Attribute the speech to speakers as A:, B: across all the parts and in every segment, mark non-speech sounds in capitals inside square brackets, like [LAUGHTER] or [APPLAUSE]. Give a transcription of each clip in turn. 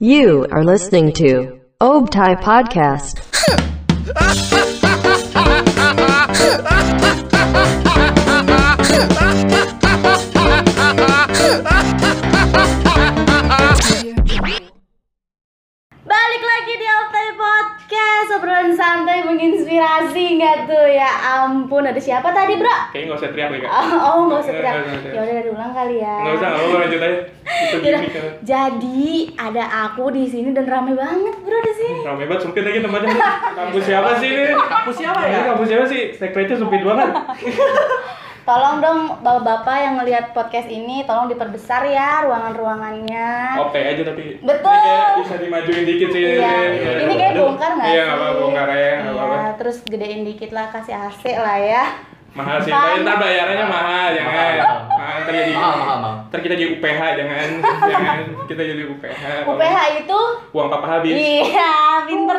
A: You are listening to Obtai Podcast.
B: Balik lagi di Altai Podcast Obrolan santai menginspirasi nggak tuh ya ampun ada siapa tadi bro?
C: Kayaknya nggak usah teriak nih kak.
B: Oh nggak usah teriak
C: Nggak, nggak, nggak.
B: ya udah dari ulang kali ya.
C: Nggak usah, nggak apa-apa lanjut aja. Itu
B: Yaudah,
C: gimmick kan.
B: Jadi ada aku di sini dan rame banget bro di sini.
C: Ramai banget sempit lagi tempatnya.
B: [LAUGHS]
C: Kampus siapa sih ini? Kampus siapa ya? Kampus siapa sih? Sekretnya sempit
B: [LAUGHS]
C: banget.
B: Tolong dong bapak-bapak yang melihat podcast ini tolong diperbesar ya ruangan-ruangannya.
C: Oke aja tapi.
B: Betul.
C: Ini kayak bisa dimajuin dikit sih.
B: Iya, ini kayak
C: Aduh.
B: bongkar nggak
C: Iya,
B: sih?
C: nggak apa-apa bongkar aja, nggak apa-apa.
B: Iya, terus gedein dikit lah, kasih AC lah ya.
C: Mahal sih, tapi ntar bayarannya mahal, jangan.
D: Mahal.
C: Mahal, ntar jadi
D: Mahal, mahal, mahal.
C: Ntar kita jadi UPH, jangan.
B: [LAUGHS]
C: Jangan, kita jadi UPH. tolong.
B: UPH itu,
C: Uang papa habis.
B: iya
C: Uh.
B: pinter.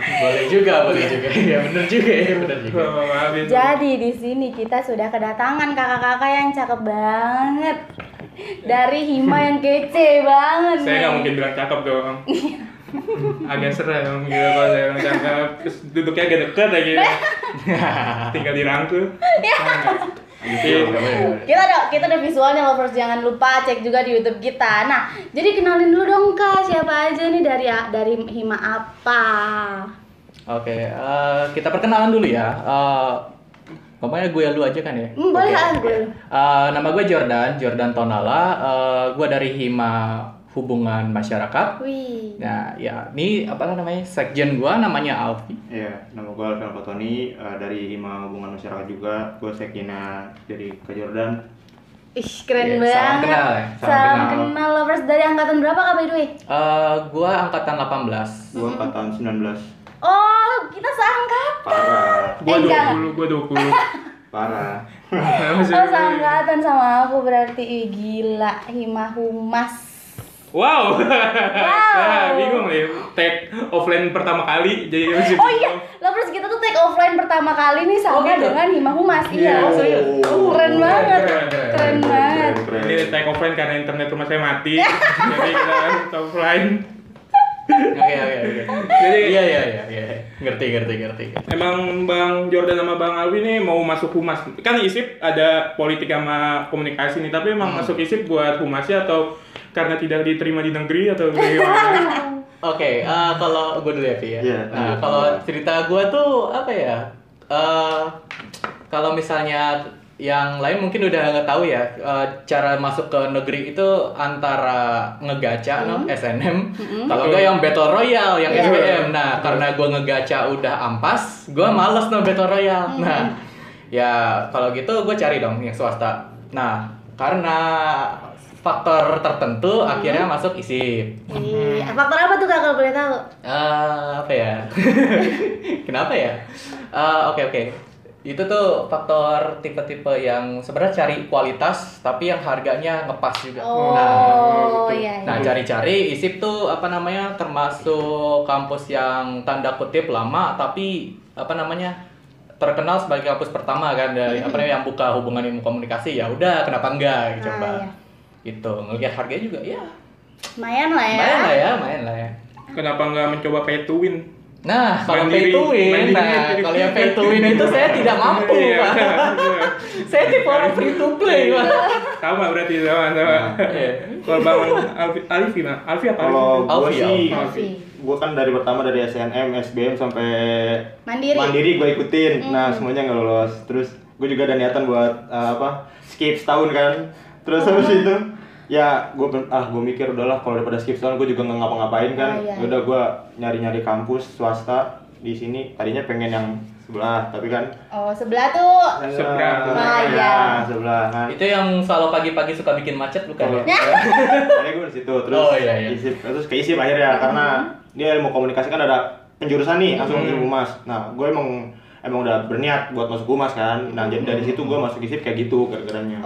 D: boleh juga boleh juga ya bener juga ya bener juga
C: Uang papa habis.
B: Jadi di sini kita sudah kedatangan kakak-kakak yang cakep banget. Dari Hima yang kece banget.
C: Saya nggak
B: nih.
C: mungkin bilang cakep dong.
B: Iya.
C: [LAUGHS] Agak serem gitu kalau saya bilang cakep. Terus duduknya agak dekat
B: [LAUGHS]
C: aja gitu. Tinggal dirangkul.
B: Iya.
D: Gitu,
C: Iya.
D: boleh, boleh.
B: Kita ada kita ada visualnya lovers jangan lupa cek juga di YouTube kita. Nah, jadi kenalin dulu dong Kak, siapa aja nih dari dari Hima apa?
D: oke eh, kita perkenalan dulu ya Eh, ngomongnya gue lu aja kan ya
B: Hmm, boleh
D: Oke.
B: ah, gue.
D: Eh, nama gue Jordan Jordan Tonala Eh, gue dari Hima Hubungan Masyarakat
B: Wih.
D: nah ya ini apa namanya sekjen gue namanya Alfi
E: Ya, nama gue Alvin Alfatoni eh, dari Hima Hubungan Masyarakat juga. Gue Sekina dari ke Jordan.
B: Ih, keren
D: Iya, salam
B: banget.
D: kenal ya,
B: salam, kenal. lovers dari angkatan berapa Kak by the way?
D: Eh, gue angkatan 18
E: Gue 4 tahun 19.
B: Oh, kita seangkatan.
E: Parah,
C: Gua
B: Eh, jangan.
C: 20, gua 20.
E: parah.
B: Oh, seangkatan sama aku berarti Ih, gila Hima Humas.
C: Wow. Nah, bingung nih. Tag offline pertama kali jadi masih
B: Oh iya, lovers kita tuh take offline pertama kali nih sama
D: Oh, gitu?
B: dengan Hima Humas. Iya.
D: Oh, serius?
B: Oh, keren banget.
C: keren,
B: Keren,
C: keren,
B: banget.
E: Keren.
C: Ini tag offline karena internet rumah saya
B: [LAUGHS]
C: mati. jadi kita offline.
D: oke oke oke
C: Jadi
D: iya iya iya iya. ngerti ngerti ngerti
C: Emang Bang Jordan sama Bang Alwi nih mau masuk humas? Kan ISIP ada politik sama komunikasi nih, tapi
D: Hmm.
C: emang masuk ISIP buat humasnya atau karena tidak diterima di negeri atau gimana?
D: [LAUGHS] Oke, eh, kalau gue dulu ya, Fi ya.
E: Iya,
D: Nah,
E: lanjut.
D: kalau cerita gue tuh apa ya? Eh, kalau misalnya yang lain mungkin udah nggak tahu ya eh, cara masuk ke negeri itu antara ngegaca
E: Hmm.
D: no SNM kalau nggak yang battle royale yang
B: Iya.
D: SBM nah karena gue ngegaca udah ampas gue males no battle royale
E: Hmm.
D: nah ya kalau gitu gue cari dong yang swasta nah karena faktor tertentu akhirnya
E: Hmm.
D: masuk isip
B: Iya, faktor apa tuh Kak kalau boleh tahu?
D: Eh, apa ya? [LAUGHS] Kenapa ya? Eh, Oke oke. Itu tuh faktor tipe-tipe yang sebenarnya cari kualitas tapi yang harganya ngepas juga. Nah,
B: Oh,
C: gitu.
B: iya.
D: nah
B: iya.
D: cari-cari isip tuh apa namanya termasuk kampus yang tanda kutip lama tapi apa namanya terkenal sebagai kampus pertama kan dari apa namanya yang buka hubungan ilmu komunikasi ya udah kenapa enggak
B: Ah, iya.
D: coba gitu ngelihat harganya juga ya
B: Lumayan lah ya.
D: main lah ya main lah ya
C: Kenapa nggak mencoba pay to win?
D: Nah, kalau
C: Mandiri,
D: pay to win,
C: mandiri,
D: nah,
C: mandiri.
D: kalau yang pay to win itu saya tidak mampu,
C: Iya.
D: Pak. saya tipe orang free to play, Pak.
C: sama berarti sama sama.
D: Iya.
C: Kalau Bang Alfi, Alfi nah, Alfi apa? Alfi?
E: Kalau gue
D: Alfi,
E: sih,
B: Alfi.
E: gue kan dari pertama dari SNM, SBM sampai
B: Mandiri. Hmm.
E: gue ikutin. Nah semuanya nggak lolos. Terus gue juga ada niatan buat eh, apa skip setahun kan. Terus habis
B: Hmm.
E: itu ya gue ah gue mikir udahlah kalau daripada skip setahun gue juga nggak ngapa-ngapain kan.
B: Oh, iya.
E: Udah gue nyari-nyari kampus swasta di sini. Tadinya pengen yang sebelah tapi kan
B: Oh, sebelah tuh.
C: Sebelah.
B: Bahaya.
E: Nah, sebelah. Nah,
D: Itu yang selalu pagi-pagi suka bikin macet, bukan ya?
E: Akhirnya gue di situ terus
D: Oh, iya, iya.
E: isip, terus ke isip akhirnya karena dia ilmu komunikasi kan ada penjurusan nih langsung masuk humas. Nah, gue emang emang udah berniat buat masuk humas kan. Nah, jadi dari situ gue masuk isip kayak gitu gara-garanya.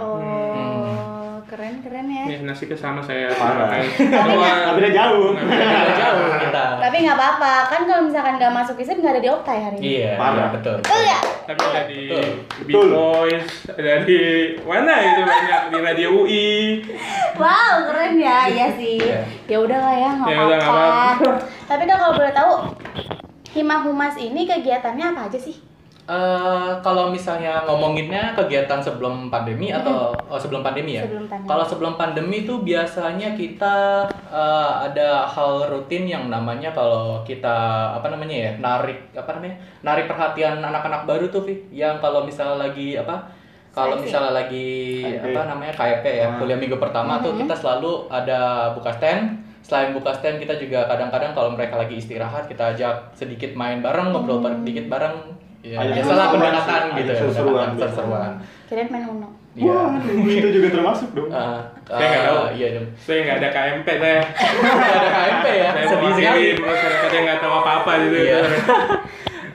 B: Oh, keren-keren ya.
C: Nih, nasibnya sama saya.
E: Parah.
C: Kayak-
E: Tapi udah jauh.
D: Agak jauh kita.
B: Tapi nggak apa-apa, kan kalau misalkan nggak masuk ISIP nggak ada di Optai hari ini.
D: Iya,
E: Parah.
D: iya, betul.
B: Betul nggak?
C: Tapi dari
D: Betul.
C: Big Boys, dari mana itu banyak di Radio UI.
B: Wow, iya sih.
D: Iya.
B: Ya udahlah ya, nggak
C: Ya udah, nggak
B: apa-apa.
C: apa-apa.
B: Tapi dah kalau boleh tahu, Hima Humas ini kegiatannya apa aja sih?
D: Eh, kalau misalnya ngomonginnya kegiatan sebelum pandemi atau oh, sebelum pandemi ya?
B: Sebelum pandemi.
D: Kalau sebelum pandemi itu biasanya kita eh, ada hal rutin yang namanya kalau kita apa namanya ya narik apa namanya narik perhatian anak-anak baru tuh Vi. yang kalau misalnya lagi apa kalau
B: Seleksi.
D: misalnya lagi
E: KIP.
D: apa namanya KIP ya
E: Ah.
D: kuliah minggu pertama tuh kita selalu ada buka stand selain buka stand kita juga kadang-kadang kalau mereka lagi istirahat kita ajak sedikit main
B: Mm.
D: bareng ngobrol sedikit bareng ya
E: Ajak
D: biasalah
E: seru-seruan
D: pendekatan
E: sih,
D: gitu
E: ajak
D: ya
E: seru-seruan
D: pendekatan,
E: biasa.
D: seru-seruan
B: Kirain main Uno.
D: iya
E: Waduh, itu juga termasuk dong.
D: Ah,
C: Saya nggak
D: ah,
C: tahu.
D: iya dong
C: Saya nggak ada KMP saya.
D: Nggak ada KMP ya
C: Saya
D: sedih sekali
C: mewakili masyarakat yang nggak tahu apa-apa gitu. [LAUGHS]
D: Iya.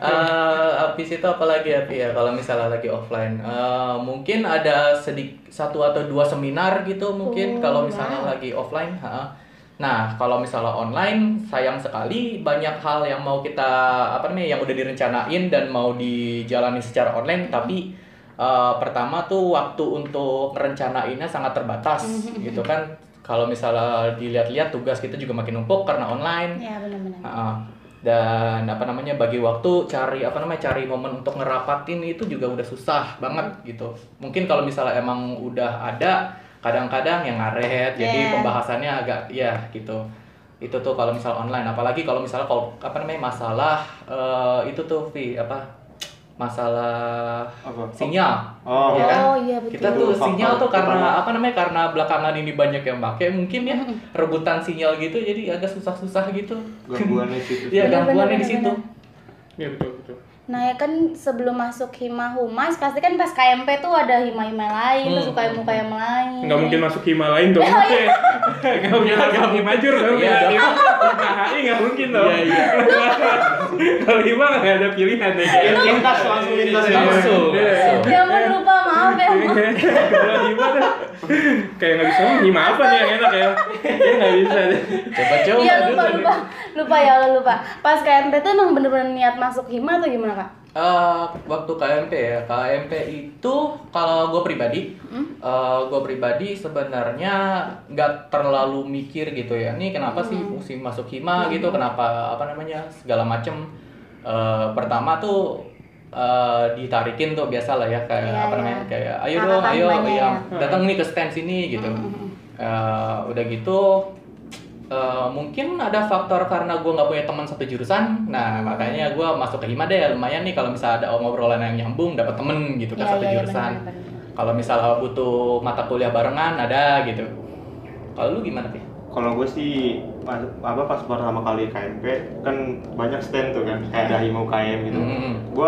D: Eh, habis itu apalagi ya Pi, ya kalau misalnya lagi offline Eh, mungkin ada sedik satu atau dua seminar gitu
B: Oh,
D: mungkin kalau misalnya
B: wow.
D: lagi offline ha. nah kalau misalnya online sayang sekali banyak hal yang mau kita apa namanya yang udah direncanain dan mau dijalani secara online tapi eh, pertama tuh waktu untuk rencanainnya sangat terbatas
B: Mm-hmm.
D: gitu kan kalau misalnya dilihat-lihat tugas kita juga makin numpuk karena online
B: Ya benar-benar.
D: Heeh. dan apa namanya bagi waktu cari apa namanya cari momen untuk ngerapatin itu juga udah susah banget gitu mungkin kalau misalnya emang udah ada kadang-kadang yang ngaret jadi
B: Yeah.
D: pembahasannya agak ya gitu itu tuh kalau misal online apalagi kalau misalnya kalau apa namanya masalah eh, itu tuh Vi apa masalah
E: Apa?
D: sinyal
E: Oh,
D: Iya kan?
B: Oh iya betul.
D: kita tuh
E: Faktor
D: sinyal tuh karena
E: pertama.
D: apa namanya karena belakangan ini banyak yang pakai mungkin ya rebutan sinyal gitu jadi agak susah-susah gitu
E: gangguannya situ.
D: Iya
B: Bener,
D: gangguannya
B: bener,
D: di situ.
C: Iya betul betul.
B: Nah ya kan sebelum masuk Hima Humas pasti kan pas KMP tuh ada Hima-Hima lain, terus
D: Hmm.
B: UKM-UKM lain.
C: Nggak mungkin masuk hima lain dong. Nggak punya langsung hima jur dong.
D: Iya,
C: Iya.
D: dong.
C: KHI nggak mungkin dong.
D: Iya, iya.
C: Kalau hima nggak ada pilihan deh.
E: Lintas langsung lintas
D: Langsung.
C: Iya.
D: langsung.
B: Ya ampun lupa maaf
C: [LAUGHS]
B: ya. Ma.
C: Kalau hima tuh kayak nggak bisa hima apa nih yang enak ya? Dia nggak bisa deh.
D: Coba
C: Ya
D: coba
B: Iya
D: dulu.
B: lupa lupa lupa ya Allah lupa. Pas KMP tuh emang bener-bener niat masuk Hima atau gimana kak?
D: Eh, waktu KMP ya, KMP itu kalau gue pribadi,
B: Hmm?
D: gue pribadi sebenarnya nggak terlalu mikir gitu ya. Ini kenapa sih
B: Hmm.
D: musim masuk hima gitu? Kenapa apa namanya segala macem? Eh, pertama tuh eh, ditarikin tuh biasalah ya kayak
B: Iya,
D: apa namanya
B: iya.
D: kayak ayo
B: Tanggapan
D: dong, ayo,
B: banyak
D: iya.
B: ya.
D: datang nih ke stand sini gitu.
B: Hmm,
D: Eh, udah gitu eh, mungkin ada faktor karena gue nggak punya teman satu jurusan nah
B: Hmm.
D: makanya gue masuk ke hima deh lumayan nih kalau misalnya ada ngobrolan yang nyambung dapat temen gitu kan
B: Iya,
D: satu
B: iya, iya,
D: jurusan
B: benar, benar.
D: kalau misalnya butuh mata kuliah barengan ada gitu kalau lu gimana sih
E: Kalau gue sih pas, apa pas pertama kali KMP kan banyak stand tuh kan kayak ada Himo KM gitu.
D: Hmm.
E: Gue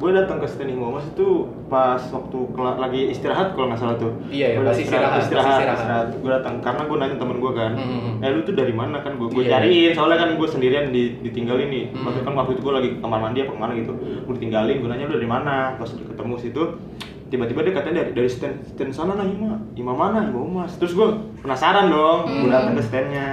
E: gue datang ke stand Himo Mas itu pas waktu kela- lagi istirahat kalau nggak salah tuh.
D: Iya, iya,
E: Gua
D: pas istirahat, pas
E: istirahat,
D: istirahat.
E: istirahat, Gue datang karena gue nanya temen gue kan,
D: Hmm.
E: eh lu tuh dari mana kan gue gue
D: Iya.
E: cariin soalnya kan gue sendirian di, ditinggalin nih.
D: Hmm.
E: Waktu kan waktu itu gue lagi ke kamar mandi apa kemana gitu, gue ditinggalin. Gue nanya lu dari mana, pas ketemu situ tiba-tiba dia katanya dari dari stand stand sana lah Hima Hima mana Hima Umas terus gue penasaran dong gue
D: Hmm.
E: datang ke standnya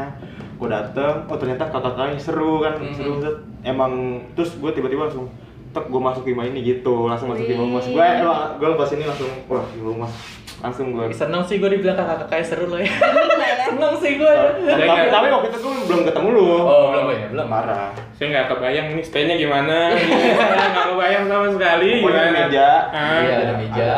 E: gue datang oh ternyata kakak-kakaknya seru kan
D: Hmm.
E: seru set. emang terus gue tiba-tiba langsung tek gue masuk Hima ini gitu langsung masuk Hima Umas gue
B: Wih.
E: emang gue lepas ini langsung wah Hima Umas langsung gue
D: seneng sih gue dibilang kakak kakaknya seru loh ya
B: Gimana ya?
D: [LAUGHS] seneng sih gue
E: tapi, tapi, tapi waktu itu gue belum ketemu lu
D: oh belum ya belum
E: marah
C: Saya nggak kebayang nih stand-nya
D: [LAUGHS]
C: gimana. Saya Nggak kebayang sama sekali.
E: Pokoknya
C: gimana.
E: meja.
C: Ah.
D: iya ada meja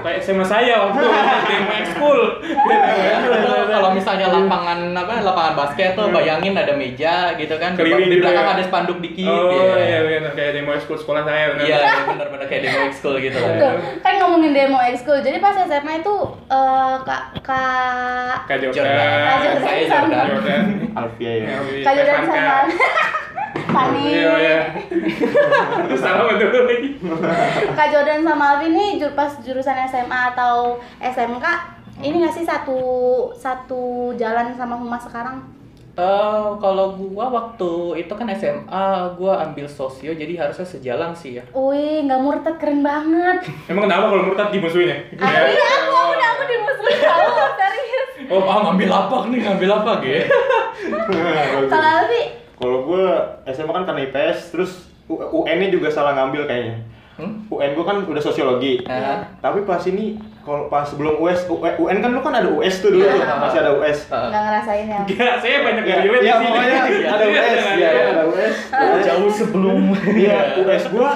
C: Kayak SMA saya waktu SMA
D: [LAUGHS]
C: school. Iya,
D: Itu kalau misalnya lapangan apa lapangan basket tuh bayangin ada meja gitu kan
C: Iya.
D: di
C: Keliling
D: di
C: gitu
D: belakang
C: ya.
D: ada spanduk dikit
C: Oh
D: ya.
C: iya benar kayak demo school sekolah saya benar.
D: Iya, iya, benar-benar kayak demo ekskul gitu
B: Tuh,
C: Iya.
D: lah.
B: kan ngomongin demo ekskul. Jadi pas SMA itu eh, kak kak
C: Kak
D: Jordan.
C: Jordan.
D: Saya
B: sama-
D: Jordan.
C: Jordan.
E: Alfia
D: Iya,
E: ya
B: kak Jordan sama
C: [LAUGHS]
B: Fani.
C: Iya iya. Terus salah betul lagi.
B: Kak Jordan sama Alvin nih jur- pas jurusan SMA atau SMK ini nggak sih satu satu jalan sama humas sekarang?
D: Eh, kalau gua waktu itu kan SMA, gua ambil sosio jadi harusnya sejalan sih ya.
B: Wih, nggak murtad keren banget.
C: Emang kenapa kalau murtad dimusuhin ya?
B: Ah, Iya, aku udah aku
C: [LAUGHS]
B: dimusuhin tahu serius.
D: Oh, ah, ngambil apa nih? Ngambil apa gitu? iya.
B: Kalau Alvi,
E: Kalau gue SMA kan karena IPS, terus UN-nya juga salah ngambil kayaknya.
D: Hmm?
E: UN gue kan udah sosiologi.
D: Ah.
E: Tapi pas ini kalau pas sebelum US U- UN kan lu kan ada US tuh dulu
B: Iya.
E: tuh, masih ada US.
D: eh,
B: nggak ngerasain ya
C: Enggak, saya banyak
D: Iya,
E: Ya,
C: yang Ah. relate
E: ya
C: di sini.
E: pokoknya ada
C: Iya, Ah.
E: US,
C: ada
E: ya,
C: relate.
E: ada US.
D: Jauh sebelum.
E: Iya, US gua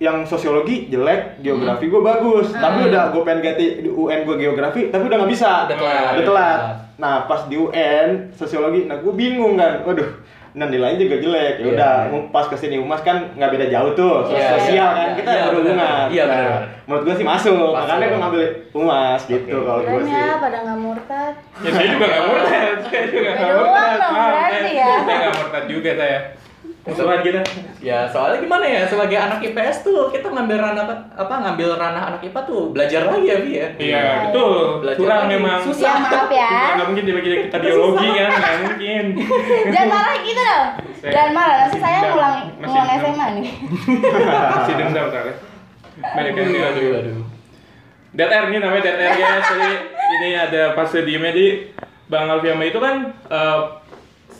E: yang sosiologi jelek, geografi gua bagus.
D: Hmm.
E: Tapi udah gua pengen ganti di UN gua geografi, tapi udah nggak bisa.
D: Udah telat.
E: Udah telat. Nah, pas di UN sosiologi, nah gua bingung kan. Waduh, nah nilainya juga jelek. Ya
D: Iya.
E: udah, mau pas kesini humas kan nggak beda jauh tuh. Sos-
D: Iya,
E: sosial
D: iya,
E: kan,
D: iya.
E: kita
D: Iya,
E: berhubungan.
D: benar. Iya,
E: Nah,
D: benar.
E: Menurut gua sih masuk,
D: Masuk.
E: makanya gua ngambil humas gitu
D: Oke.
E: kalau gua
B: keren
E: sih.
B: ya pada nggak
C: [LAUGHS]
B: murtad
C: Ya saya juga nggak murtad, saya juga nggak
B: Berdua
C: murtad.
B: dong,
C: Maaf,
B: berarti
C: saya-
B: ya.
C: Saya nggak murtad juga saya. Musuhan kita.
D: Ya soalnya gimana ya sebagai anak IPS tuh kita ngambil ranah apa ngambil ranah anak IPA tuh belajar lagi ya Vi ya.
C: Iya, betul.
D: Belajar
C: Kurang
D: lagi. Iya.
C: memang.
D: Susah.
B: ya maaf ya
C: Iya, Nggak mungkin dibagi kita biologi kan, nggak mungkin.
B: jangan marah gitu dong
C: Saya-
B: jangan marah nanti saya
C: Masih
B: ngulang
C: dendam.
B: ngulang
C: Masih
B: SMA nih
C: Masih dendam kali. Banyak yang
D: Aduh,
C: bilang
D: aduh, aduh.
C: Dead air ini namanya dead air guys. Jadi ini ada fase diemnya di Bang Alfiama itu kan eh,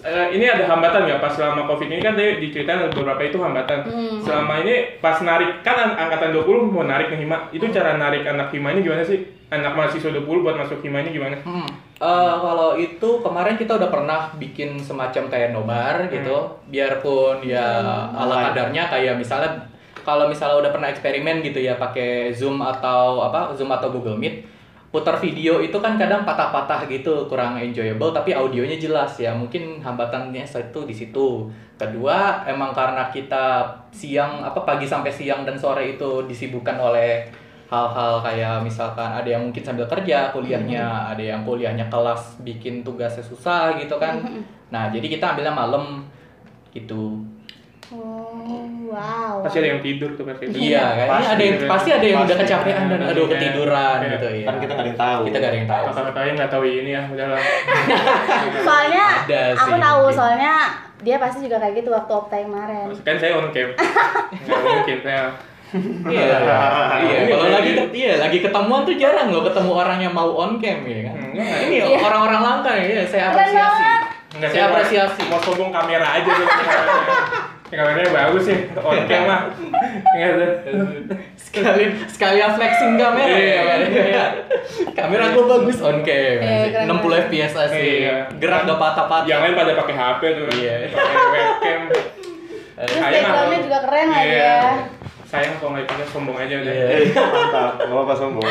C: eh, ini ada hambatan nggak pas selama covid ini kan tadi diceritain ada beberapa itu hambatan.
B: Hmm.
C: Selama ini pas narik kan an- angkatan 20 mau narik ke hima itu cara narik anak hima ini gimana sih? Anak mahasiswa 20 buat masuk hima ini gimana?
D: Hmm. Eh, kalau itu kemarin kita udah pernah bikin semacam kayak nobar gitu,
C: Hmm.
D: biarpun ya ala kadarnya kayak misalnya kalau misalnya udah pernah eksperimen gitu ya pakai Zoom atau apa Zoom atau Google Meet, putar video itu kan kadang patah-patah gitu, kurang enjoyable tapi audionya jelas ya. Mungkin hambatannya satu di situ. Kedua, emang karena kita siang apa pagi sampai siang dan sore itu disibukkan oleh hal-hal kayak misalkan ada yang mungkin sambil kerja kuliahnya ada yang kuliahnya kelas bikin tugasnya susah gitu kan nah jadi kita ambilnya malam gitu
B: oh, wow
C: Pasti ada yang tidur tuh pasti.
D: iya kayaknya
E: Pasti.
D: ada yang pasti ada yang udah
E: Pasti.
D: kecapean dan aduh
C: Iya.
D: ketiduran
C: Iya.
D: gitu ya
E: Kan kita nggak ada yang tahu.
D: kita gak ada yang tahu
C: Kakak-kakaknya nggak tahu ini ya, udah lah.
B: soalnya
D: gitu. Ada
B: aku tahu
D: sih, mungkin.
B: soalnya dia pasti juga kayak gitu waktu optai kemarin
C: Kan saya on
B: [LAUGHS]
C: cam. Nggak mungkin saya.
D: [LAUGHS] iya iya
C: Ini
D: kalau
C: kayak
D: lagi
C: gitu.
D: iya lagi ketemuan tuh jarang loh ketemu orang yang mau on cam ya kan
C: Hmm, iya.
D: ini orang-orang langka ya saya
B: Keren
D: apresiasi
B: banget.
C: Enggak
D: saya apresiasi
C: Mau sombong kamera aja tuh. Ya, kameranya bagus sih, on cam lah. Enggak tuh.
D: sekalian sekalian flexing kamera
C: Iya,
D: ya.
C: iya.
D: kamera gue bagus on cam
B: Iya, keren
D: 60 fps asli
C: Iya. kan?
D: gerak gak patah-patah
C: Yang lain pada pakai HP tuh.
D: Iya.
C: Pakai webcam.
B: terus
C: Sayang
B: backgroundnya
C: kalau-
B: juga keren
C: Iya.
B: lagi ya
C: Sayang kalau nggak punya sombong aja udah.
D: Iya.
E: Eh, mantap. Gak apa-apa
D: [LAUGHS]
E: sombong.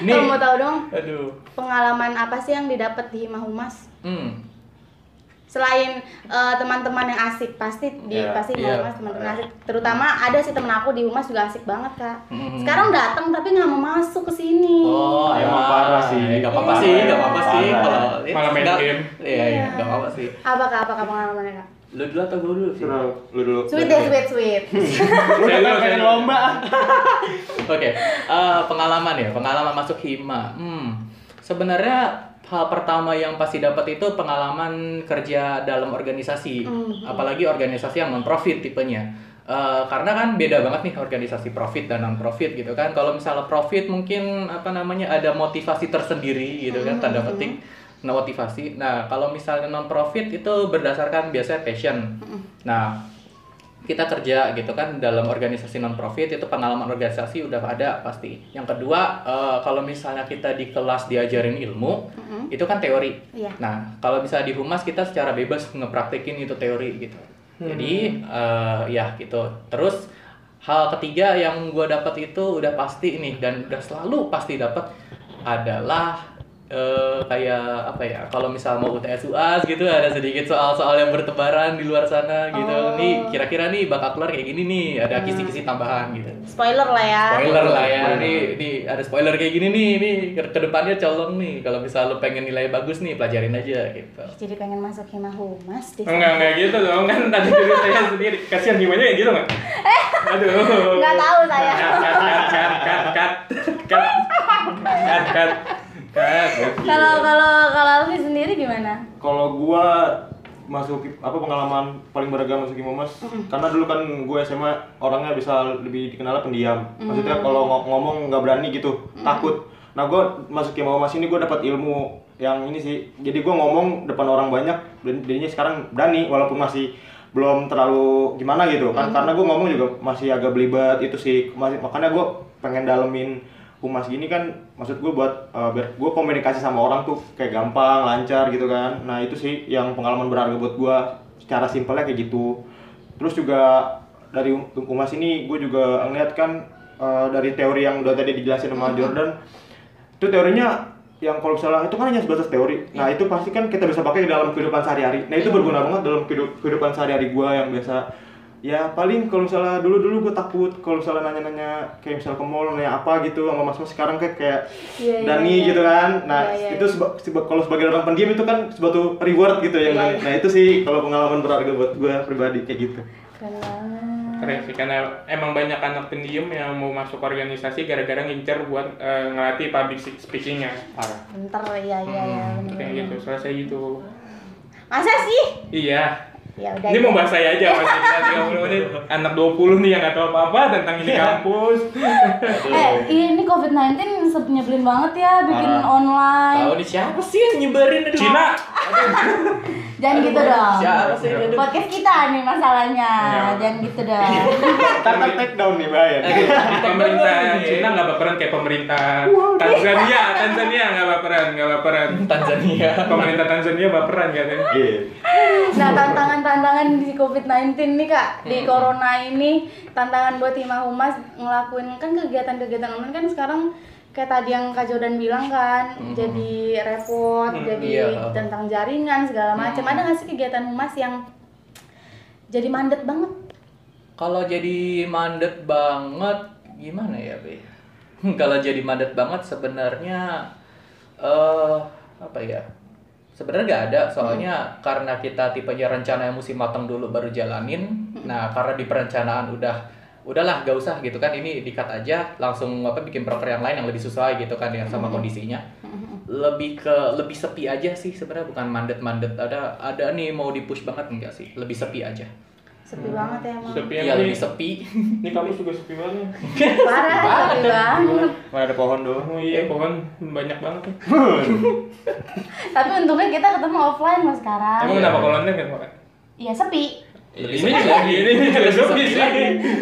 D: nih
B: kamu mau tahu dong
D: aduh
B: pengalaman apa sih yang didapat di Hima Humas
D: hmm
B: selain eh, teman-teman yang asik pasti di
E: Iya,
B: pasti di
D: iya.
B: humas teman-teman asik terutama ada sih temen aku di humas juga asik banget kak
D: Mhm.
B: sekarang datang tapi nggak mau masuk ke sini
D: oh
E: Emang parah sih.
D: gak apa-apa
B: Iya.
D: sih gak apa-apa sih
E: Parah.
D: kalau
C: Malah main
D: nggak-
C: game.
D: iya iya gak apa-apa sih
B: apa kak apa kak pengalamannya kak
D: lu dulu atau gue dulu sih
E: Sudah, lu dulu.
B: sweet deh sweet
D: [LAUGHS]
B: sweet
E: Lu
C: Saya
E: kan
C: dulu,
E: pengen
C: saya dulu.
E: lomba. ah.
D: Oke, eh, pengalaman ya, pengalaman masuk hima. Hmm, sebenarnya hal pertama yang pasti dapat itu pengalaman kerja dalam organisasi, apalagi organisasi yang non profit tipenya. Eh, karena kan beda banget nih organisasi profit dan non profit gitu kan. Kalau misalnya profit mungkin apa namanya ada motivasi tersendiri gitu kan, tanda petik nah, motivasi. Nah kalau misalnya non profit itu berdasarkan biasanya passion. Nah kita kerja gitu kan dalam organisasi non profit itu pengalaman organisasi udah ada pasti. Yang kedua eh, kalau misalnya kita di kelas diajarin ilmu itu kan teori.
B: Iya.
D: Nah kalau bisa di humas kita secara bebas ngepraktekin itu teori gitu. Jadi eh, ya gitu. Terus hal ketiga yang gua dapat itu udah pasti ini dan udah selalu pasti dapat adalah eh, kayak apa ya kalau misal mau UTS UAS gitu ada sedikit soal-soal yang bertebaran di luar sana gitu nih kira-kira nih bakal keluar kayak gini nih ada kisi-kisi tambahan gitu
B: spoiler lah ya
D: spoiler lah ya nih nih ada spoiler kayak gini nih nih ke kedepannya colong nih kalau misal lo pengen nilai bagus nih pelajarin aja gitu
B: jadi pengen masuk Hima Humas di
C: Enggak enggak gitu dong kan tadi dulu saya sendiri. Kasihan gimana ya gitu nggak? Aduh.
B: nggak tahu
D: [LAUGHS]
B: saya
C: Cut cut cut cut cut cut cut cut cut.
B: kalau kalau kalau Alfi sendiri gimana
E: Kalau gua masuk apa pengalaman paling beragam masuk Imomas karena dulu kan gue SMA orangnya bisa lebih dikenal pendiam. Maksudnya kalau ngo- ngomong nggak berani gitu, takut. Nah, gua masuk Imomas ini gua dapat ilmu yang ini sih. Jadi gua ngomong depan orang banyak dan jadinya sekarang berani walaupun masih belum terlalu gimana gitu kan karena gue ngomong juga masih agak belibet itu sih masih makanya gue pengen dalemin humas gini kan maksud gue buat eh, biar gue komunikasi sama orang tuh kayak gampang lancar gitu kan nah itu sih yang pengalaman berharga buat gue secara simpelnya kayak gitu terus juga dari um- humas ini gue juga ngeliat kan eh, dari teori yang udah tadi dijelasin sama Jordan itu teorinya yang kalau misalnya itu kan hanya sebatas teori nah
B: Iya.
E: itu pasti kan kita bisa pakai dalam kehidupan sehari-hari nah itu berguna banget dalam kehidup- kehidupan sehari-hari gua yang biasa ya paling kalau misalnya dulu dulu gue takut kalau misalnya nanya-nanya kayak misalnya ke mall nanya apa gitu sama mas mas sekarang kayak kayak
B: Iya, iya,
E: Dani
B: iya.
E: gitu kan nah
B: Iya, iya,
E: itu seba- seba- kalau sebagai orang pendiam itu kan suatu reward gitu
B: Iya,
E: yang Dani.
B: iya.
E: nah itu sih kalau pengalaman berharga buat gue pribadi kayak gitu
B: Keren banget.
C: Keren sih, karena emang banyak anak pendiam yang mau masuk organisasi gara-gara ngincer buat eh, ngelatih public speakingnya.
E: parah
B: Bentar ya ya ya.
C: Hmm,
B: bener-bener.
C: kayak gitu, selesai gitu.
B: Masa sih?
C: Iya.
B: Ya udah.
C: Ini mau bahas saya aja masih tiga puluh menit. Anak 20 nih yang nggak tahu apa-apa tentang ini
D: Iya.
C: kampus.
B: Eh, ini COVID-19 se- nyebelin banget ya bikin
D: Ah.
E: Parah.
B: online.
D: Tahu nih siapa sih yang nyebarin aduh.
C: Cina,
B: Jangan
D: Aduh,
B: gitu dong.
D: Siapa sih aduh. Iya.
B: Podcast kita nih masalahnya. Jangan gitu dong.
D: [LAUGHS]
E: ntar ntar take down nih ya. bahaya
B: Iya.
D: Iya.
C: pemerintah Cina nggak baperan kayak pemerintah Tanzania. Tanzania nggak baperan, nggak baperan.
D: Tanzania.
C: Pemerintah Tanzania baperan katanya.
E: Iya.
B: Nah, tantangan-tantangan di COVID-19 nih, Kak. Di corona ini tantangan buat Hima Humas ngelakuin kan kegiatan-kegiatan online kan sekarang kayak tadi yang Kak Jordan bilang kan, jadi repot, jadi
D: iya.
B: tentang jaringan segala macam. Ada nggak sih kegiatan Humas yang jadi mandet banget?
D: Kalau jadi mandet banget gimana ya, Be? [LAUGHS] Hmm, Kalau jadi mandet banget sebenarnya eh apa ya? Sebenarnya nggak ada, soalnya karena kita tipenya rencana yang mesti matang dulu baru jalanin. Nah, karena di perencanaan udah udahlah gak usah gitu kan ini dikat aja langsung apa bikin proker yang lain yang lebih sesuai gitu kan ya sama kondisinya lebih ke lebih sepi aja sih sebenarnya bukan mandet mandet ada ada nih mau di push banget enggak sih lebih sepi aja
B: Sepi banget ya emang.
C: Sepi
D: iya
C: aja.
D: lebih sepi
C: Ini kampus juga sepi banget.
B: Parah, sepi banget.
E: mana ada pohon doang
C: Oh iya, pohon banyak banget. ya.
D: Iya.
B: Tapi untungnya kita ketemu offline loh sekarang.
C: Emang kenapa kalau online kan? Pak?
B: Iya, sepi.
C: Ini juga ini juga sepi sih.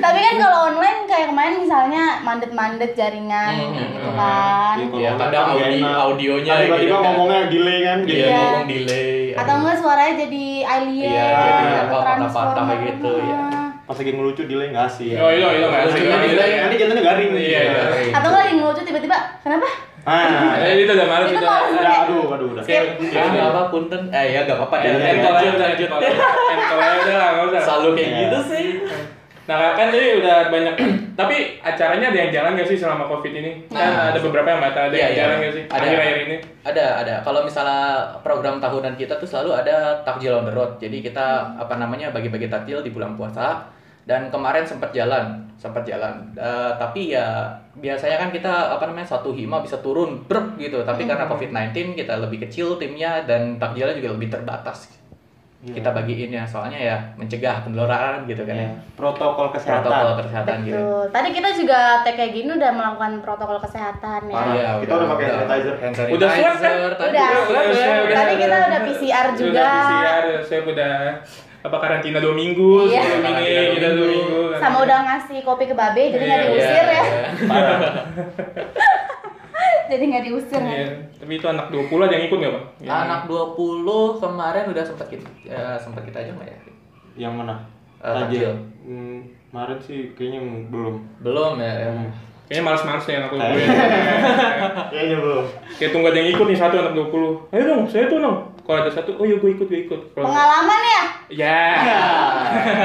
B: Tapi kan kalau online kayak kemarin misalnya mandet-mandet jaringan
D: Hmm,
B: gitu kan.
D: Iya, kadang audi- audionya
E: Nah, tiba-tiba
D: gitu kan.
E: ngomongnya delay kan gitu.
D: Iya,
B: Iya.
D: ngomong delay.
B: Atau enggak suaranya jadi alien,
D: Iya,
E: jadi
B: atau
D: apa,
B: transformer.
D: patah-patah gitu, ya.
E: Pas lagi ngelucu delay nggak sih.
C: Oh iya iya nggak asik.
D: Iya,
C: Iya,
D: iya,
C: iya.
E: Nanti jatuhnya garing.
C: Iya, iya.
B: Atau enggak lagi ngelucu tiba-tiba, kenapa?
E: Ah,
C: Eh, itu udah males
B: Itu
C: itu.
B: males.
E: udah, ya, aduh, aduh, udah.
C: Skip.
D: Ya, nggak apa punten. Eh, ya nggak apa-apa ya.
E: Iya, iya.
D: Lanjut,
C: Lanjut
D: lanjut.
C: lanjut. Entol aja udah lah, nggak usah.
D: Selalu kayak
E: Iya.
D: gitu sih.
C: Nah kan tadi udah banyak, [CLEARS THROAT] tapi acaranya ada yang jalan nggak sih selama covid ini? Kan
D: Nah.
C: ada beberapa yang batal, ada
D: Iya,
C: yang
D: iya.
C: jalan nggak sih?
D: Ada.
C: Akhir-akhir ini.
D: Ada, ada. Kalau misalnya program tahunan kita tuh selalu ada takjil on the road. Jadi kita apa namanya bagi-bagi takjil di bulan puasa. Dan kemarin sempat jalan, sempat jalan. Eh, tapi ya biasanya kan kita apa namanya satu hima bisa turun brek gitu. Tapi karena
B: Hmm.
D: COVID-19 kita lebih kecil timnya dan takjilnya juga lebih terbatas. Kita bagiin ya, soalnya ya mencegah penularan gitu kan. ya.
E: Iya. Protokol
D: Protokol
E: kesehatan.
D: kesehatan gitu.
B: Betul. Tadi kita juga tag kayak gini udah melakukan protokol kesehatan ya.
E: Parah.
D: Iya,
E: Kita udah pakai sanitizer.
D: hand
C: Udah swab kan?
D: sanitizer, tadi
B: Udah.
D: swab ya,
C: swab,
B: Tadi kita udah PCR juga.
C: Udah PCR, saya udah apa karantina dua minggu,
B: Iya.
C: sebelum
D: Karantina
C: ini
D: dua
C: kita dua
D: minggu.
C: minggu.
B: Sama udah ngasih kopi ke babe jadi nggak
C: Iya,
B: diusir
D: Iya,
B: ya.
D: iya.
B: [LAUGHS] jadi nggak diusir.
C: Iya.
B: kan?
C: Tapi itu anak 20 ada yang ikut nggak bang? Iya.
D: Anak 20 kemarin udah sempat kita eh, sempat kita aja nggak ya?
E: Yang mana?
D: Eh, takjil.
E: Hmm, kemarin sih kayaknya belum.
D: Belum ya. ya.
E: Hmm.
C: Kayaknya males-males nih anak 20
E: Kayaknya belum.
C: Kayak tunggu ada yang ikut nih satu anak 20 Ayo dong, saya tuh dong Kalau ada satu, oh iya gue ikut, gue ikut Kalau-
B: Pengalaman ya?
C: Ya
D: Iya.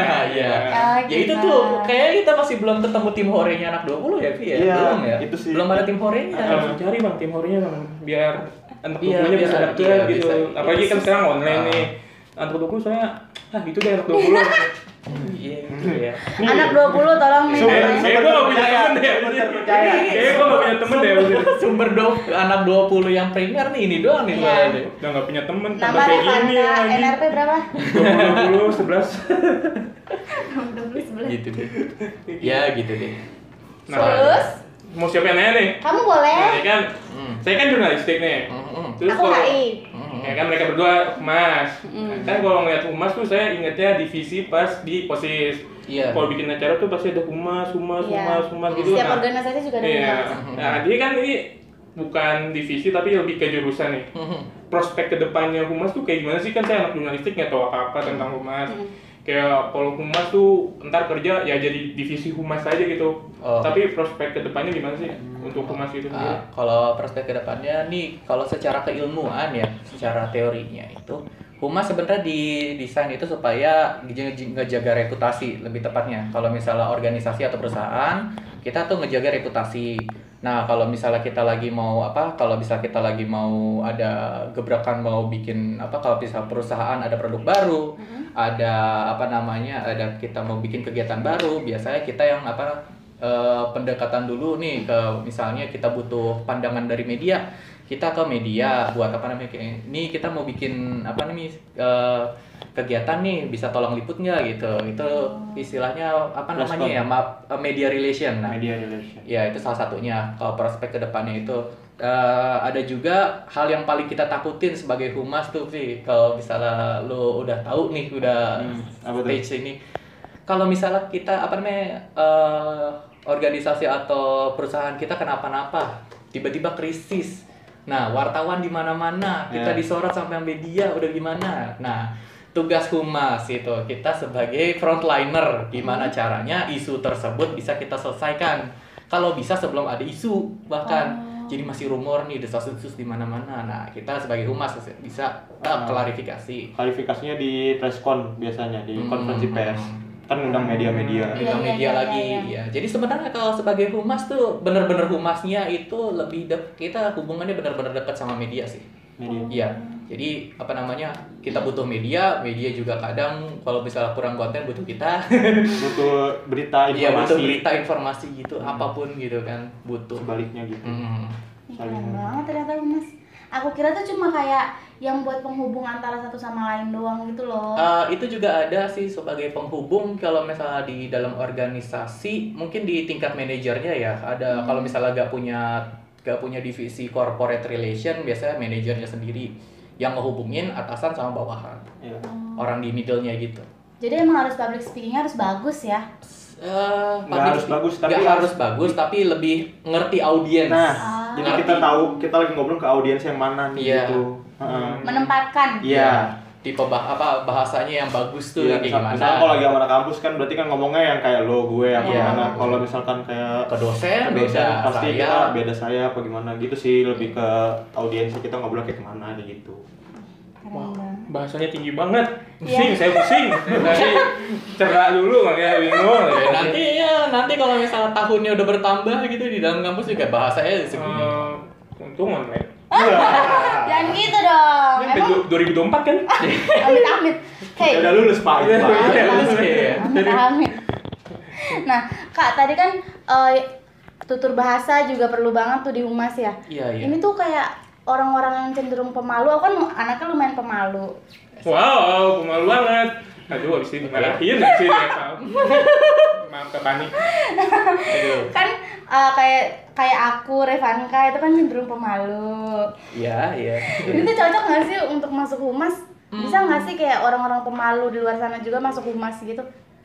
D: Ah, [LAUGHS] Iya.
B: Ah,
D: Ya itu
B: gimana?
D: tuh kayaknya kita masih belum ketemu tim horenya anak 20 ya, Pi ya?
E: Iya,
D: belum ya?
E: itu sih. Ah,
D: Belum ada tim horenya.
C: Harus cari bang tim horinya bang Biar anak
D: Iya,
C: 20 nya bisa
D: biar-
C: dapet
D: iya,
C: gitu
D: bisa.
C: Apalagi kan
D: Iya.
C: sekarang online
D: Ah.
C: nih Anak 20 soalnya Ah gitu deh anak 20
D: [LAUGHS] Iya, gitu ya. [LAUGHS]
B: Anak 20 tolong nih.
C: Eh,
E: Sumber-
B: tolong.
C: Kayaknya gue gak punya temen ya, deh
E: terpercaya.
C: Kayaknya gue gak punya temen ya, deh abis itu.
D: Sumber do anak 20 yang premier nih ini doang nih.
B: Iya.
D: soalnya nih.
C: Udah gak punya temen tambah
B: Nama
C: kayak
D: ya,
C: gini
B: Revanta,
C: lagi
B: NRP berapa?
C: 20,
D: [LAUGHS]
C: 11
B: 20 sebelas.
D: Gitu deh. Ya gitu deh.
C: Nah.
D: Soalnya-
B: Terus?
C: mau siapa yang nanya nih?
B: Kamu
C: Nah,
B: boleh.
C: ya kan,
D: Hmm.
C: saya kan jurnalistik nih.
D: Eh? Hmm.
C: Terus
B: Aku
C: kalau-
B: HI.
D: Hmm.
C: Ya kan mereka berdua humas. Nah, kan kalau ngeliat humas tuh saya ingetnya divisi pas di posis.
D: Iya.
C: Kalau bikin acara tuh pasti ada humas, humas,
B: Iya.
C: humas, humas gitu.
B: Setiap
C: Nah,
B: organisasi juga ada
C: Iya.
B: humas.
C: Nah, dia kan ini bukan divisi tapi lebih ke jurusan nih.
D: Hmm.
C: Prospek kedepannya humas tuh kayak gimana sih kan saya anak jurnalistik nggak tahu apa-apa tentang humas. Kayak kalau humas tuh ntar kerja ya jadi divisi humas aja gitu.
D: Oh.
C: Tapi prospek kedepannya gimana sih untuk humas itu
D: Ah,
C: sendiri?
D: kalau perspektif kedepannya nih, kalau secara keilmuan ya, secara teorinya itu, humas sebenarnya didesain itu supaya nge- ngejaga reputasi lebih tepatnya. Kalau misalnya organisasi atau perusahaan, kita tuh ngejaga reputasi. Nah, kalau misalnya kita lagi mau apa? Kalau bisa kita lagi mau ada gebrakan mau bikin apa? Kalau bisa perusahaan ada produk baru,
C: Mm-hmm.
D: ada apa namanya? Ada kita mau bikin kegiatan baru, biasanya kita yang apa? eh, pendekatan dulu nih ke misalnya kita butuh pandangan dari media kita ke media buat apa namanya kayak ini kita mau bikin apa nih eh, kegiatan nih bisa tolong liput nggak gitu itu istilahnya apa
E: Respon.
D: namanya ya ma- eh, media relation nah
E: media relation
D: ya itu salah satunya kalau prospek kedepannya itu Eh, ada juga hal yang paling kita takutin sebagai humas tuh sih kalau misalnya lo udah tahu nih udah
E: Hmm, apa tuh?
D: stage ini kalau misalnya kita apa namanya eh, organisasi atau perusahaan kita kenapa-napa tiba-tiba krisis nah wartawan di mana-mana kita
E: Ya.
D: disorot sampai media udah gimana nah tugas humas itu kita sebagai frontliner gimana caranya isu tersebut bisa kita selesaikan kalau bisa sebelum ada isu bahkan jadi masih rumor nih desas-desus di mana-mana nah kita sebagai humas bisa eh,
E: Nah.
D: klarifikasi
E: klarifikasinya di preskon biasanya di konferensi
D: Hmm.
E: pers kan ngundang media-media
D: Di
B: Iya,
D: media
B: iya,
D: lagi
B: iya,
D: ya. Jadi sebenarnya kalau sebagai humas tuh bener-bener humasnya itu lebih dek- kita hubungannya bener-bener dekat sama media sih.
E: media
D: Iya. Jadi apa namanya kita butuh media, media juga kadang kalau misalnya kurang konten butuh kita.
E: butuh berita
D: [LAUGHS]
E: informasi
D: Iya butuh berita informasi gitu apapun gitu kan butuh.
E: sebaliknya gitu
D: Hmm.
B: Ih, Keren banget ternyata humas. Aku kira tuh cuma kayak yang buat penghubung antara satu sama lain doang gitu loh.
E: Ah.
D: Eh, itu juga ada sih sebagai penghubung kalau misalnya di dalam organisasi mungkin di tingkat manajernya ya ada kalau misalnya nggak punya nggak punya divisi corporate relation biasanya manajernya sendiri yang ngehubungin atasan sama bawahan
E: Iya.
D: orang di middle-nya gitu.
B: Jadi emang harus public speakingnya harus bagus ya.
D: Eh,
E: Nggak
D: public
E: harus
D: speak-
E: bagus, tapi
D: nggak
E: harus-
D: harus bagus tapi lebih ngerti audiens.
E: nah
B: Ah.
E: jadi kita
D: Ngerti.
E: tahu kita lagi ngobrol ke audiens yang mana nih
D: Iya.
E: gitu Heeh.
C: Nah,
B: Menempatkan.
E: iya
D: Tipe bah- apa bahasanya yang bagus tuh
E: Iya,
D: kayak
E: misal-
D: gimana?
E: misalkan kalau lagi sama anak kampus kan berarti kan ngomongnya yang kayak lo gue apa
D: Iya.
E: gimana. Kalau misalkan kayak
D: Ke dosen,
E: ke dosen,
D: beda
E: pasti
D: saya.
E: kita beda saya apa gimana gitu sih lebih ke audiensnya kita ngobrol kayak kemana nih gitu.
B: Keren banget.
C: Bahasanya tinggi banget.
B: Iya.
C: Pusing, saya pusing. Nanti cerah dulu makanya bingung.
D: Ya, nanti ya nanti kalau misalnya tahunnya udah bertambah gitu di dalam kampus juga bahasanya segini.
C: Eh, untung online.
B: Jangan gitu dong.
C: Ini
B: Emang
C: sampai 2024
B: [LAUGHS]
C: kan?
B: amit-amit. Hei,
E: Ya udah lulus Pak. gitu, Pak.
C: Iya,
D: Iya,
C: lulus
D: iya.
C: ya.
B: amit-amit. Nah, Kak, tadi kan eh, tutur bahasa juga perlu banget tuh di humas ya.
D: Iya iya.
B: Ini tuh kayak orang-orang yang cenderung pemalu. Aku kan anaknya lumayan pemalu.
C: Wow, pemalu banget. Aduh, abis ini dimarahin abis ini ya, Pak. Maaf kepanik.
D: Aduh.
B: Kan eh, kayak kayak aku, Revanka itu kan cenderung pemalu.
D: Iya iya.
B: Ini tuh cocok nggak sih untuk masuk humas? Bisa nggak sih kayak orang-orang pemalu di luar sana juga masuk humas gitu?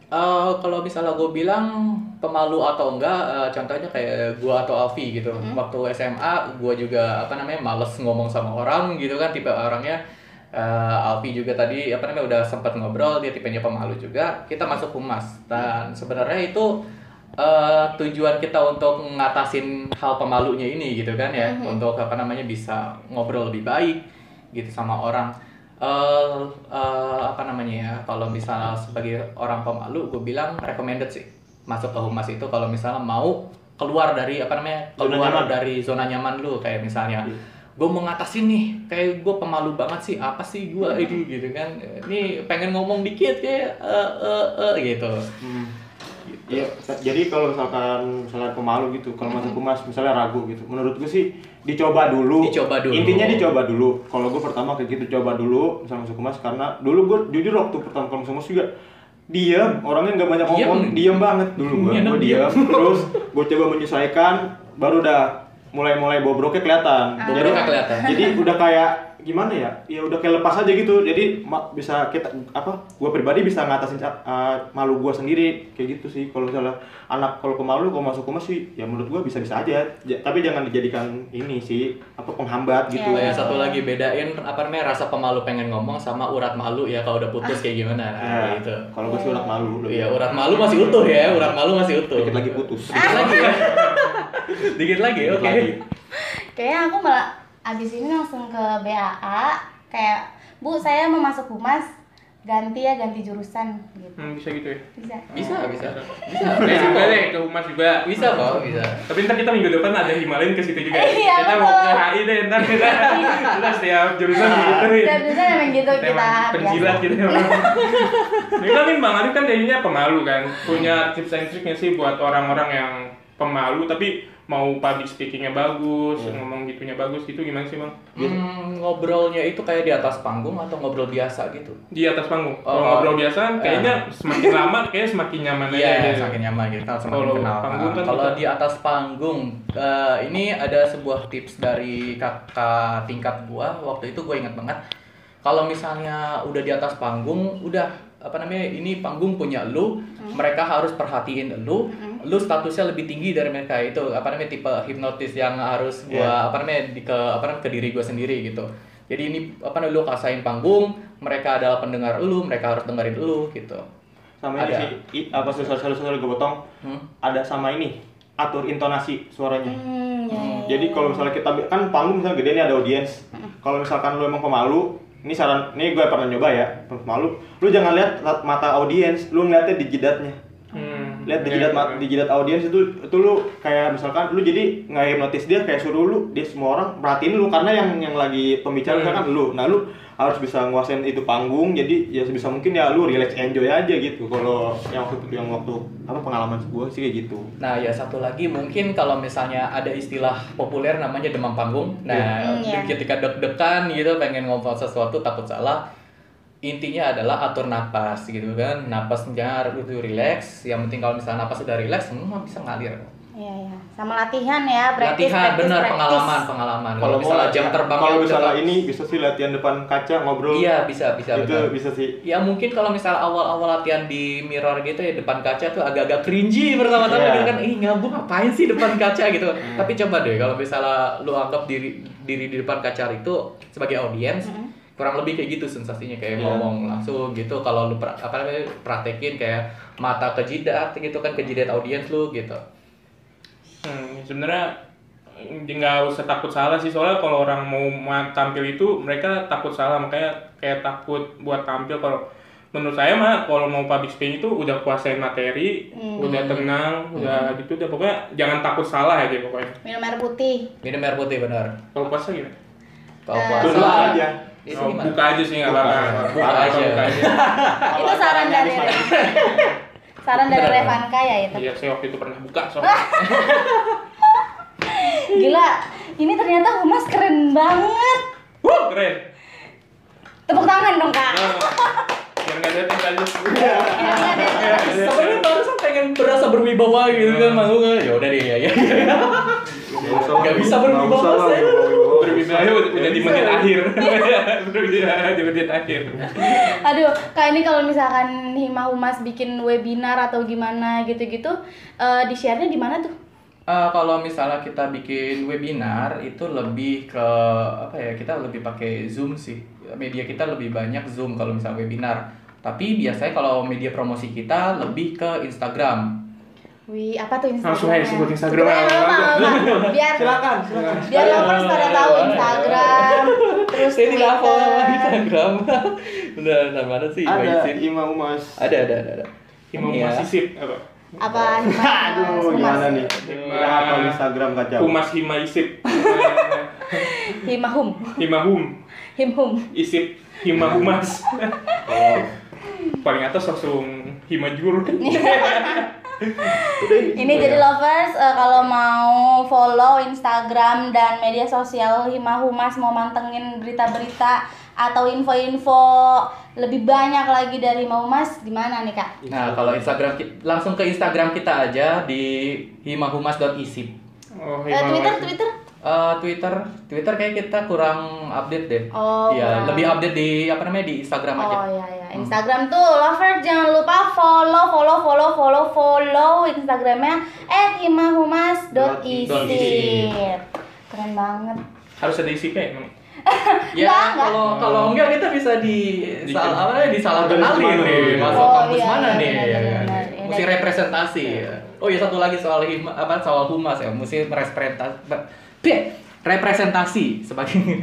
D: Eh, kalau misalnya gue bilang pemalu atau enggak, eh, contohnya kayak gue atau Alfi gitu. Waktu SMA, gue juga apa namanya males ngomong sama orang gitu kan, tipe orangnya. Eh, Alfi juga tadi apa namanya udah sempat ngobrol, dia tipenya pemalu juga. Kita masuk humas dan sebenarnya itu eh, tujuan kita untuk ngatasin hal pemalunya ini gitu kan ya, untuk apa namanya bisa ngobrol lebih baik gitu sama orang. eh eh, apa namanya ya kalau misalnya sebagai orang pemalu gue bilang recommended sih masuk ke humas itu kalau misalnya mau keluar dari apa namanya
E: Zona
D: keluar
E: nyaman. Iya.
D: dari zona nyaman lu kayak misalnya gue mau ngatasin nih kayak gue pemalu banget sih apa sih gue ini gitu kan ini pengen ngomong dikit kayak eh eh eh gitu
E: Iya, jadi kalau misalkan misalnya pemalu gitu, kalau
D: Hmm.
E: masuk humas misalnya ragu gitu, menurut gue sih dicoba dulu.
D: Dicoba dulu.
E: Intinya dicoba dulu. Kalau gue pertama kayak gitu coba dulu misalnya masuk humas karena dulu gue jujur waktu pertama kali masuk humas juga diem orangnya nggak banyak
D: Diem.
E: ngomong diem banget dulu gua
D: Iya,
E: gua
D: diem. [LAUGHS]
E: diem terus gua coba menyesuaikan baru udah mulai mulai bobroknya kelihatan jadi
D: Bobroknya kelihatan.
E: jadi udah kayak gimana ya ya udah kayak lepas aja gitu jadi ma- bisa kita apa gua pribadi bisa ngatasin uh, malu gua sendiri kayak gitu sih kalau misalnya anak kalau pemalu kalau masuk rumah sih ya menurut gua bisa bisa aja Ja- tapi jangan dijadikan ini sih apa penghambat gitu
D: Oh, yang satu lagi bedain apa namanya rasa pemalu pengen ngomong sama urat malu ya kalau udah putus kayak gimana nah,
E: Nah,
D: gitu.
E: kalau gua sih urat malu dulu
D: Iya, urat malu masih utuh ya, urat malu masih utuh.
E: dikit lagi putus
D: Dikit lagi. [LAUGHS] ya. Dikit lagi,
E: Dikit
D: oke.
E: lagi.
B: Kayaknya aku malah abis ini langsung ke BAA kayak Bu saya mau masuk humas ganti ya ganti jurusan gitu
C: Hmm, bisa gitu ya.
B: bisa.
D: Bisa, bisa. Bisa.
C: Bisa
D: Bisa
C: juga
D: kok.
C: deh ke humas juga.
D: Bisa kok, bisa.
C: Tapi ntar kita minggu depan ada Himalayan ke situ juga. ya.
B: Iya,
C: kita mau ke
B: betul. Iya.
C: HI deh ntar kita. kita setiap jurusan digituin.
B: Udah bisa emang gitu
C: Kita
B: kita
C: Iya. emang penjilat
B: biasa.
C: gitu emang. Kita nih Bang Arif kan tadinya pemalu kan. Punya tips and triknya sih buat orang-orang yang pemalu tapi mau public speakingnya bagus,
D: Iya.
C: ngomong gitunya bagus gitu gimana sih Bang?
D: Hmm, ngobrolnya itu kayak di atas panggung atau ngobrol biasa gitu?
C: Di atas panggung. Kalau
D: Oh,
C: ngobrol biasa kan kayaknya semakin lama kayaknya semakin nyaman aja.
D: Iya,
C: gitu.
D: semakin nyaman kita semakin
C: Kalau
D: kenal.
C: panggung kan
D: kalau
C: kita-
D: di atas panggung, eh, ini ada sebuah tips dari kakak tingkat gua. Waktu itu gua inget banget. Kalau misalnya udah di atas panggung, udah apa namanya ini panggung punya lu, mereka harus perhatiin lu. Lu statusnya lebih tinggi dari mereka itu apa namanya tipe hipnotis yang harus
C: Iya.
D: gua apa namanya di ke apa namanya ke diri gua sendiri gitu. Jadi ini apa namanya lu kasain panggung, mereka adalah pendengar lu, mereka harus dengerin lu gitu.
E: sama ini
D: Ada.
E: sih i- apa sorry sorry sorry gue potong
D: Hmm.
E: ada sama ini atur intonasi suaranya
B: Hmm, ya, ya, Hmm. ya.
E: jadi kalau misalnya kita kan panggung misalnya gede nih ada audiens kalau misalkan lu emang pemalu ini saran ini gue pernah nyoba ya pemalu lu jangan lihat la- mata audiens lu ngeliatnya di jidatnya
C: Hmm.
E: lihat di
C: Iya,
E: jidat
C: iya.
E: ma- di jidat audiens itu itu lu kayak misalkan lu jadi nggak hipnotis dia kayak suruh lu dia semua orang perhatiin lu karena yang yang lagi
C: Hmm.
E: pembicara misalkan lu nah lu harus bisa nguasain itu panggung jadi ya sebisa mungkin ya lu relax enjoy aja gitu kalau yang waktu yang waktu apa pengalaman gue sih kayak gitu
D: Nah, ya satu lagi mungkin kalau misalnya ada istilah populer namanya demam panggung. Nah,
B: Hmm, iya.
D: ketika deg-degan gitu pengen ngomong sesuatu takut salah, intinya adalah atur napas gitu kan. Napasnya harus itu relax. Yang penting kalau misalnya napas sudah relax, semua bisa ngalir.
B: Iya, iya. Sama latihan ya, praktis,
D: Latihan
B: praktis,
D: bener
B: praktis.
D: pengalaman, pengalaman. Kalau ya,
E: mau
D: misalnya jam
E: latihan-
D: terbang
E: kalau misalnya ini bisa sih latihan depan kaca ngobrol
D: Iya, bisa bisa
E: itu
D: bener.
E: bisa sih
D: Ya mungkin kalau misalnya awal-awal latihan di mirror gitu ya depan kaca tuh agak-agak cringy pertama-tama
E: Iya. Hmm.
D: gitu kan ih ngabung ngapain sih depan kaca gitu. Tapi coba deh kalau misalnya lu anggap diri diri di depan kaca itu sebagai audiens
E: Hmm.
D: kurang lebih kayak gitu sensasinya kayak
E: Iya.
D: ngomong langsung gitu kalau lu pra- apa namanya praktekin kayak mata ke jidat gitu kan ke jidat audiens lu gitu.
C: Hmm, sebenarnya eh, nggak usah takut salah sih soalnya kalau orang mau ma- tampil itu mereka takut salah makanya kayak takut buat tampil kalau menurut saya mah kalau mau public speaking itu udah kuasain materi, udah tenang, udah
D: Hmm.
C: gitu udah pokoknya jangan takut salah aja pokoknya.
B: Minum air putih.
D: Minum air putih bener.
C: Kalau puasa gimana?
D: Kalau
E: Eh, Duduk
D: puasa
E: aja.
D: itu
C: Oh,
D: gimana?
C: buka aja sih nggak
E: Buka.
C: apa-apa.
D: Buka aja.
C: Buka aja.
B: Ah, itu saran dari saran dari
D: Bener, bener.
B: Revanka ya itu.
C: Iya, saya waktu itu pernah buka soalnya.
B: Gila, ini ternyata humas keren banget.
C: Wuh, keren.
B: Tepuk tangan dong, Kak.
C: [LAUGHS] Nah, biar nggak ada tinggal
B: Iya, iya, iya, iya.
D: Sebenarnya barusan pengen berasa berwibawa gitu
E: Iya.
D: kan, manggung ya udah deh ya. ya. Nggak bisa berwibawa, Mas, ya.
C: Berbibahaya udah, udah di
D: Iya.
C: menit akhir. [LAUGHS] Berbibahaya di menit akhir.
B: Aduh, Kak ini kalau misalkan Hima Humas bikin webinar atau gimana gitu-gitu, eh, di share-nya di mana tuh?
D: Eh, kalau misalnya kita bikin webinar itu lebih ke apa ya kita lebih pakai zoom sih media kita lebih banyak zoom kalau misalnya webinar tapi biasanya kalau media promosi kita lebih ke Instagram
B: Wih, apa tuh Iya, Instagram?
C: Langsung aja sebut Instagram.
B: Biar
E: silakan silakan
B: biar lovers pada tahu Instagram, terus
D: saya tidak follow
B: Twitter.
D: Instagram [LAUGHS] bener mana sih
E: ada
D: Waisin?
E: Ima Umas
D: ada ada ada, ada.
C: Imam
D: Iya.
C: Masisip apa?
B: Apa?
E: Aduh, gimana nih? Udah hafal Instagram kacau.
C: Humas
E: [LAUGHS]
C: Himaisip.
B: Himahum,
C: Himahum.
B: Himhum.
C: Isip Himahumas.
E: Oh.
C: Paling atas langsung
E: [LAUGHS]
C: Himajur.
B: Iya. Ini jadi lovers eh, kalau mau follow Instagram dan media sosial Hima Humas mau mantengin berita-berita atau info-info lebih banyak lagi dari mau mas di mana nih kak?
D: Nah, kalau Instagram ki- langsung ke Instagram kita aja di himahumas.isip.
C: Oh,
B: Eh,
C: Himawan.
B: Twitter, Twitter?
D: Eh, Twitter, Twitter kayak kita kurang update deh.
B: Oh, kurang.
D: Iya, lebih update di apa namanya di Instagram aja.
B: Oh iya iya, Instagram tuh lover jangan lupa follow follow follow follow follow Instagramnya @imahumas.isir. Keren banget.
C: Harus ada isi kayak emang.
D: Ya,
B: Enggak, enggak.
D: kalau kalau enggak kita bisa di
C: Di-
D: sal, apa namanya disalah kenalin
C: Organisasi
D: nih,
C: mana?
D: masuk
B: Oh,
D: kampus
B: iya,
D: mana
B: iya,
D: nih?
B: benar,
D: ya
B: benar,
D: kan?
B: benar. Iya,
D: Mesti
B: dari-
D: representasi. ya. Oh iya satu lagi soal hima, apa soal humas ya, mesti merepresentasi. representasi sebagai
C: [LAUGHS]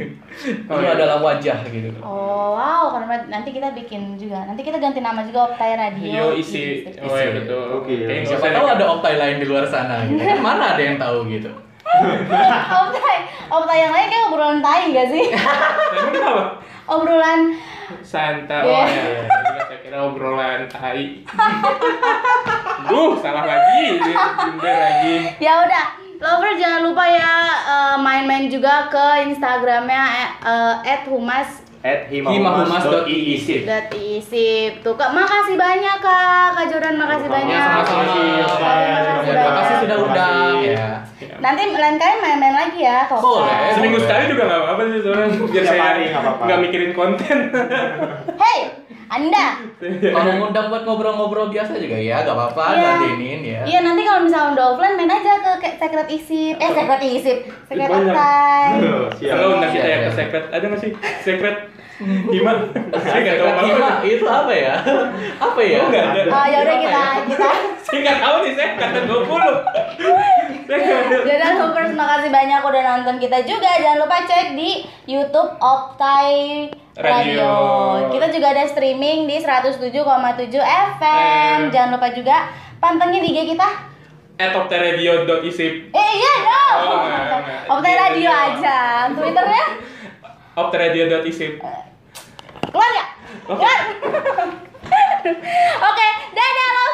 C: Oh,
D: itu
C: iya.
D: adalah wajah gitu.
B: Oh wow, keren banget. Nanti kita bikin juga. Nanti kita ganti nama juga Optai Radio. gitu.
C: Yo isi.
B: Isir.
C: Oh iya betul.
E: Oke, iya.
C: Kayaknya nggak
D: Siapa
C: usah
D: tahu
C: deh.
D: ada optai lain di luar sana
B: [LAUGHS]
D: gitu. Kan mana ada yang tahu gitu.
B: Optai, Optai yang lain kayak obrolan tai gak sih?
C: Emang kenapa?
B: obrolan
C: Santa.
B: Iya.
C: Oh iya. iya. Gila, Saya kira obrolan tai. Duh, salah lagi. Bunda lagi.
B: ya udah lover jangan lupa ya eh, main-main juga ke instagramnya eh, @humas
E: At
D: himahumas.iisip.
B: isip tuh kak makasih banyak kak kak Jordan makasih
E: Sama-sama.
B: banyak
D: Sama-sama.
B: Makasih
D: Ya, Terima
B: banyak.
D: kasih sudah
E: Terima kasih.
D: undang ya.
B: nanti lain kali main-main lagi ya kok
D: Boleh.
C: Seminggu sekali juga nggak apa-apa sih soalnya biar
E: Tiap
C: saya
E: hari nggak apa-apa.
C: nggak mikirin konten.
B: hey anda
D: Kalau ngundang buat ngobrol-ngobrol biasa juga ya, gak apa-apa,
B: Iya.
D: bandingin ya.
B: Iya nanti kalau misalnya udah offline main aja ke ke- secret isip eh secret isip secret
C: Banyak.
D: [LAUGHS]
B: Optai.
E: Siap.
C: Kalau undang kita ya
D: Iya,
C: ke
D: iya.
C: secret, ada nggak sih secret? Gimana? Saya Iya, nggak tahu
D: Sekret
C: apa-apa.
D: Hima, itu apa ya? [LAUGHS] Apa ya?
C: Oh, nggak ada.
B: Oh, ya udah kita kita
C: Saya nggak tahu nih, saya kata 20 Saya nggak [LAUGHS] ada.
B: Jadi Hoopers Iya. makasih banyak udah nonton kita juga. Jangan lupa cek di YouTube Optai Radio.
C: Radio.
B: Kita juga ada streaming di 107,7 FM.
C: Eh.
B: Jangan lupa juga pantengin IG kita.
C: Etopteradio.isip
B: Eh iya dong.
C: Oh, enggak, enggak.
B: Optai
C: Iya,
B: Radio
C: iya.
B: aja. ya. Twitternya
C: Opteradio.isip
B: keluar ya? Keluar. [LAUGHS] Oke, dadah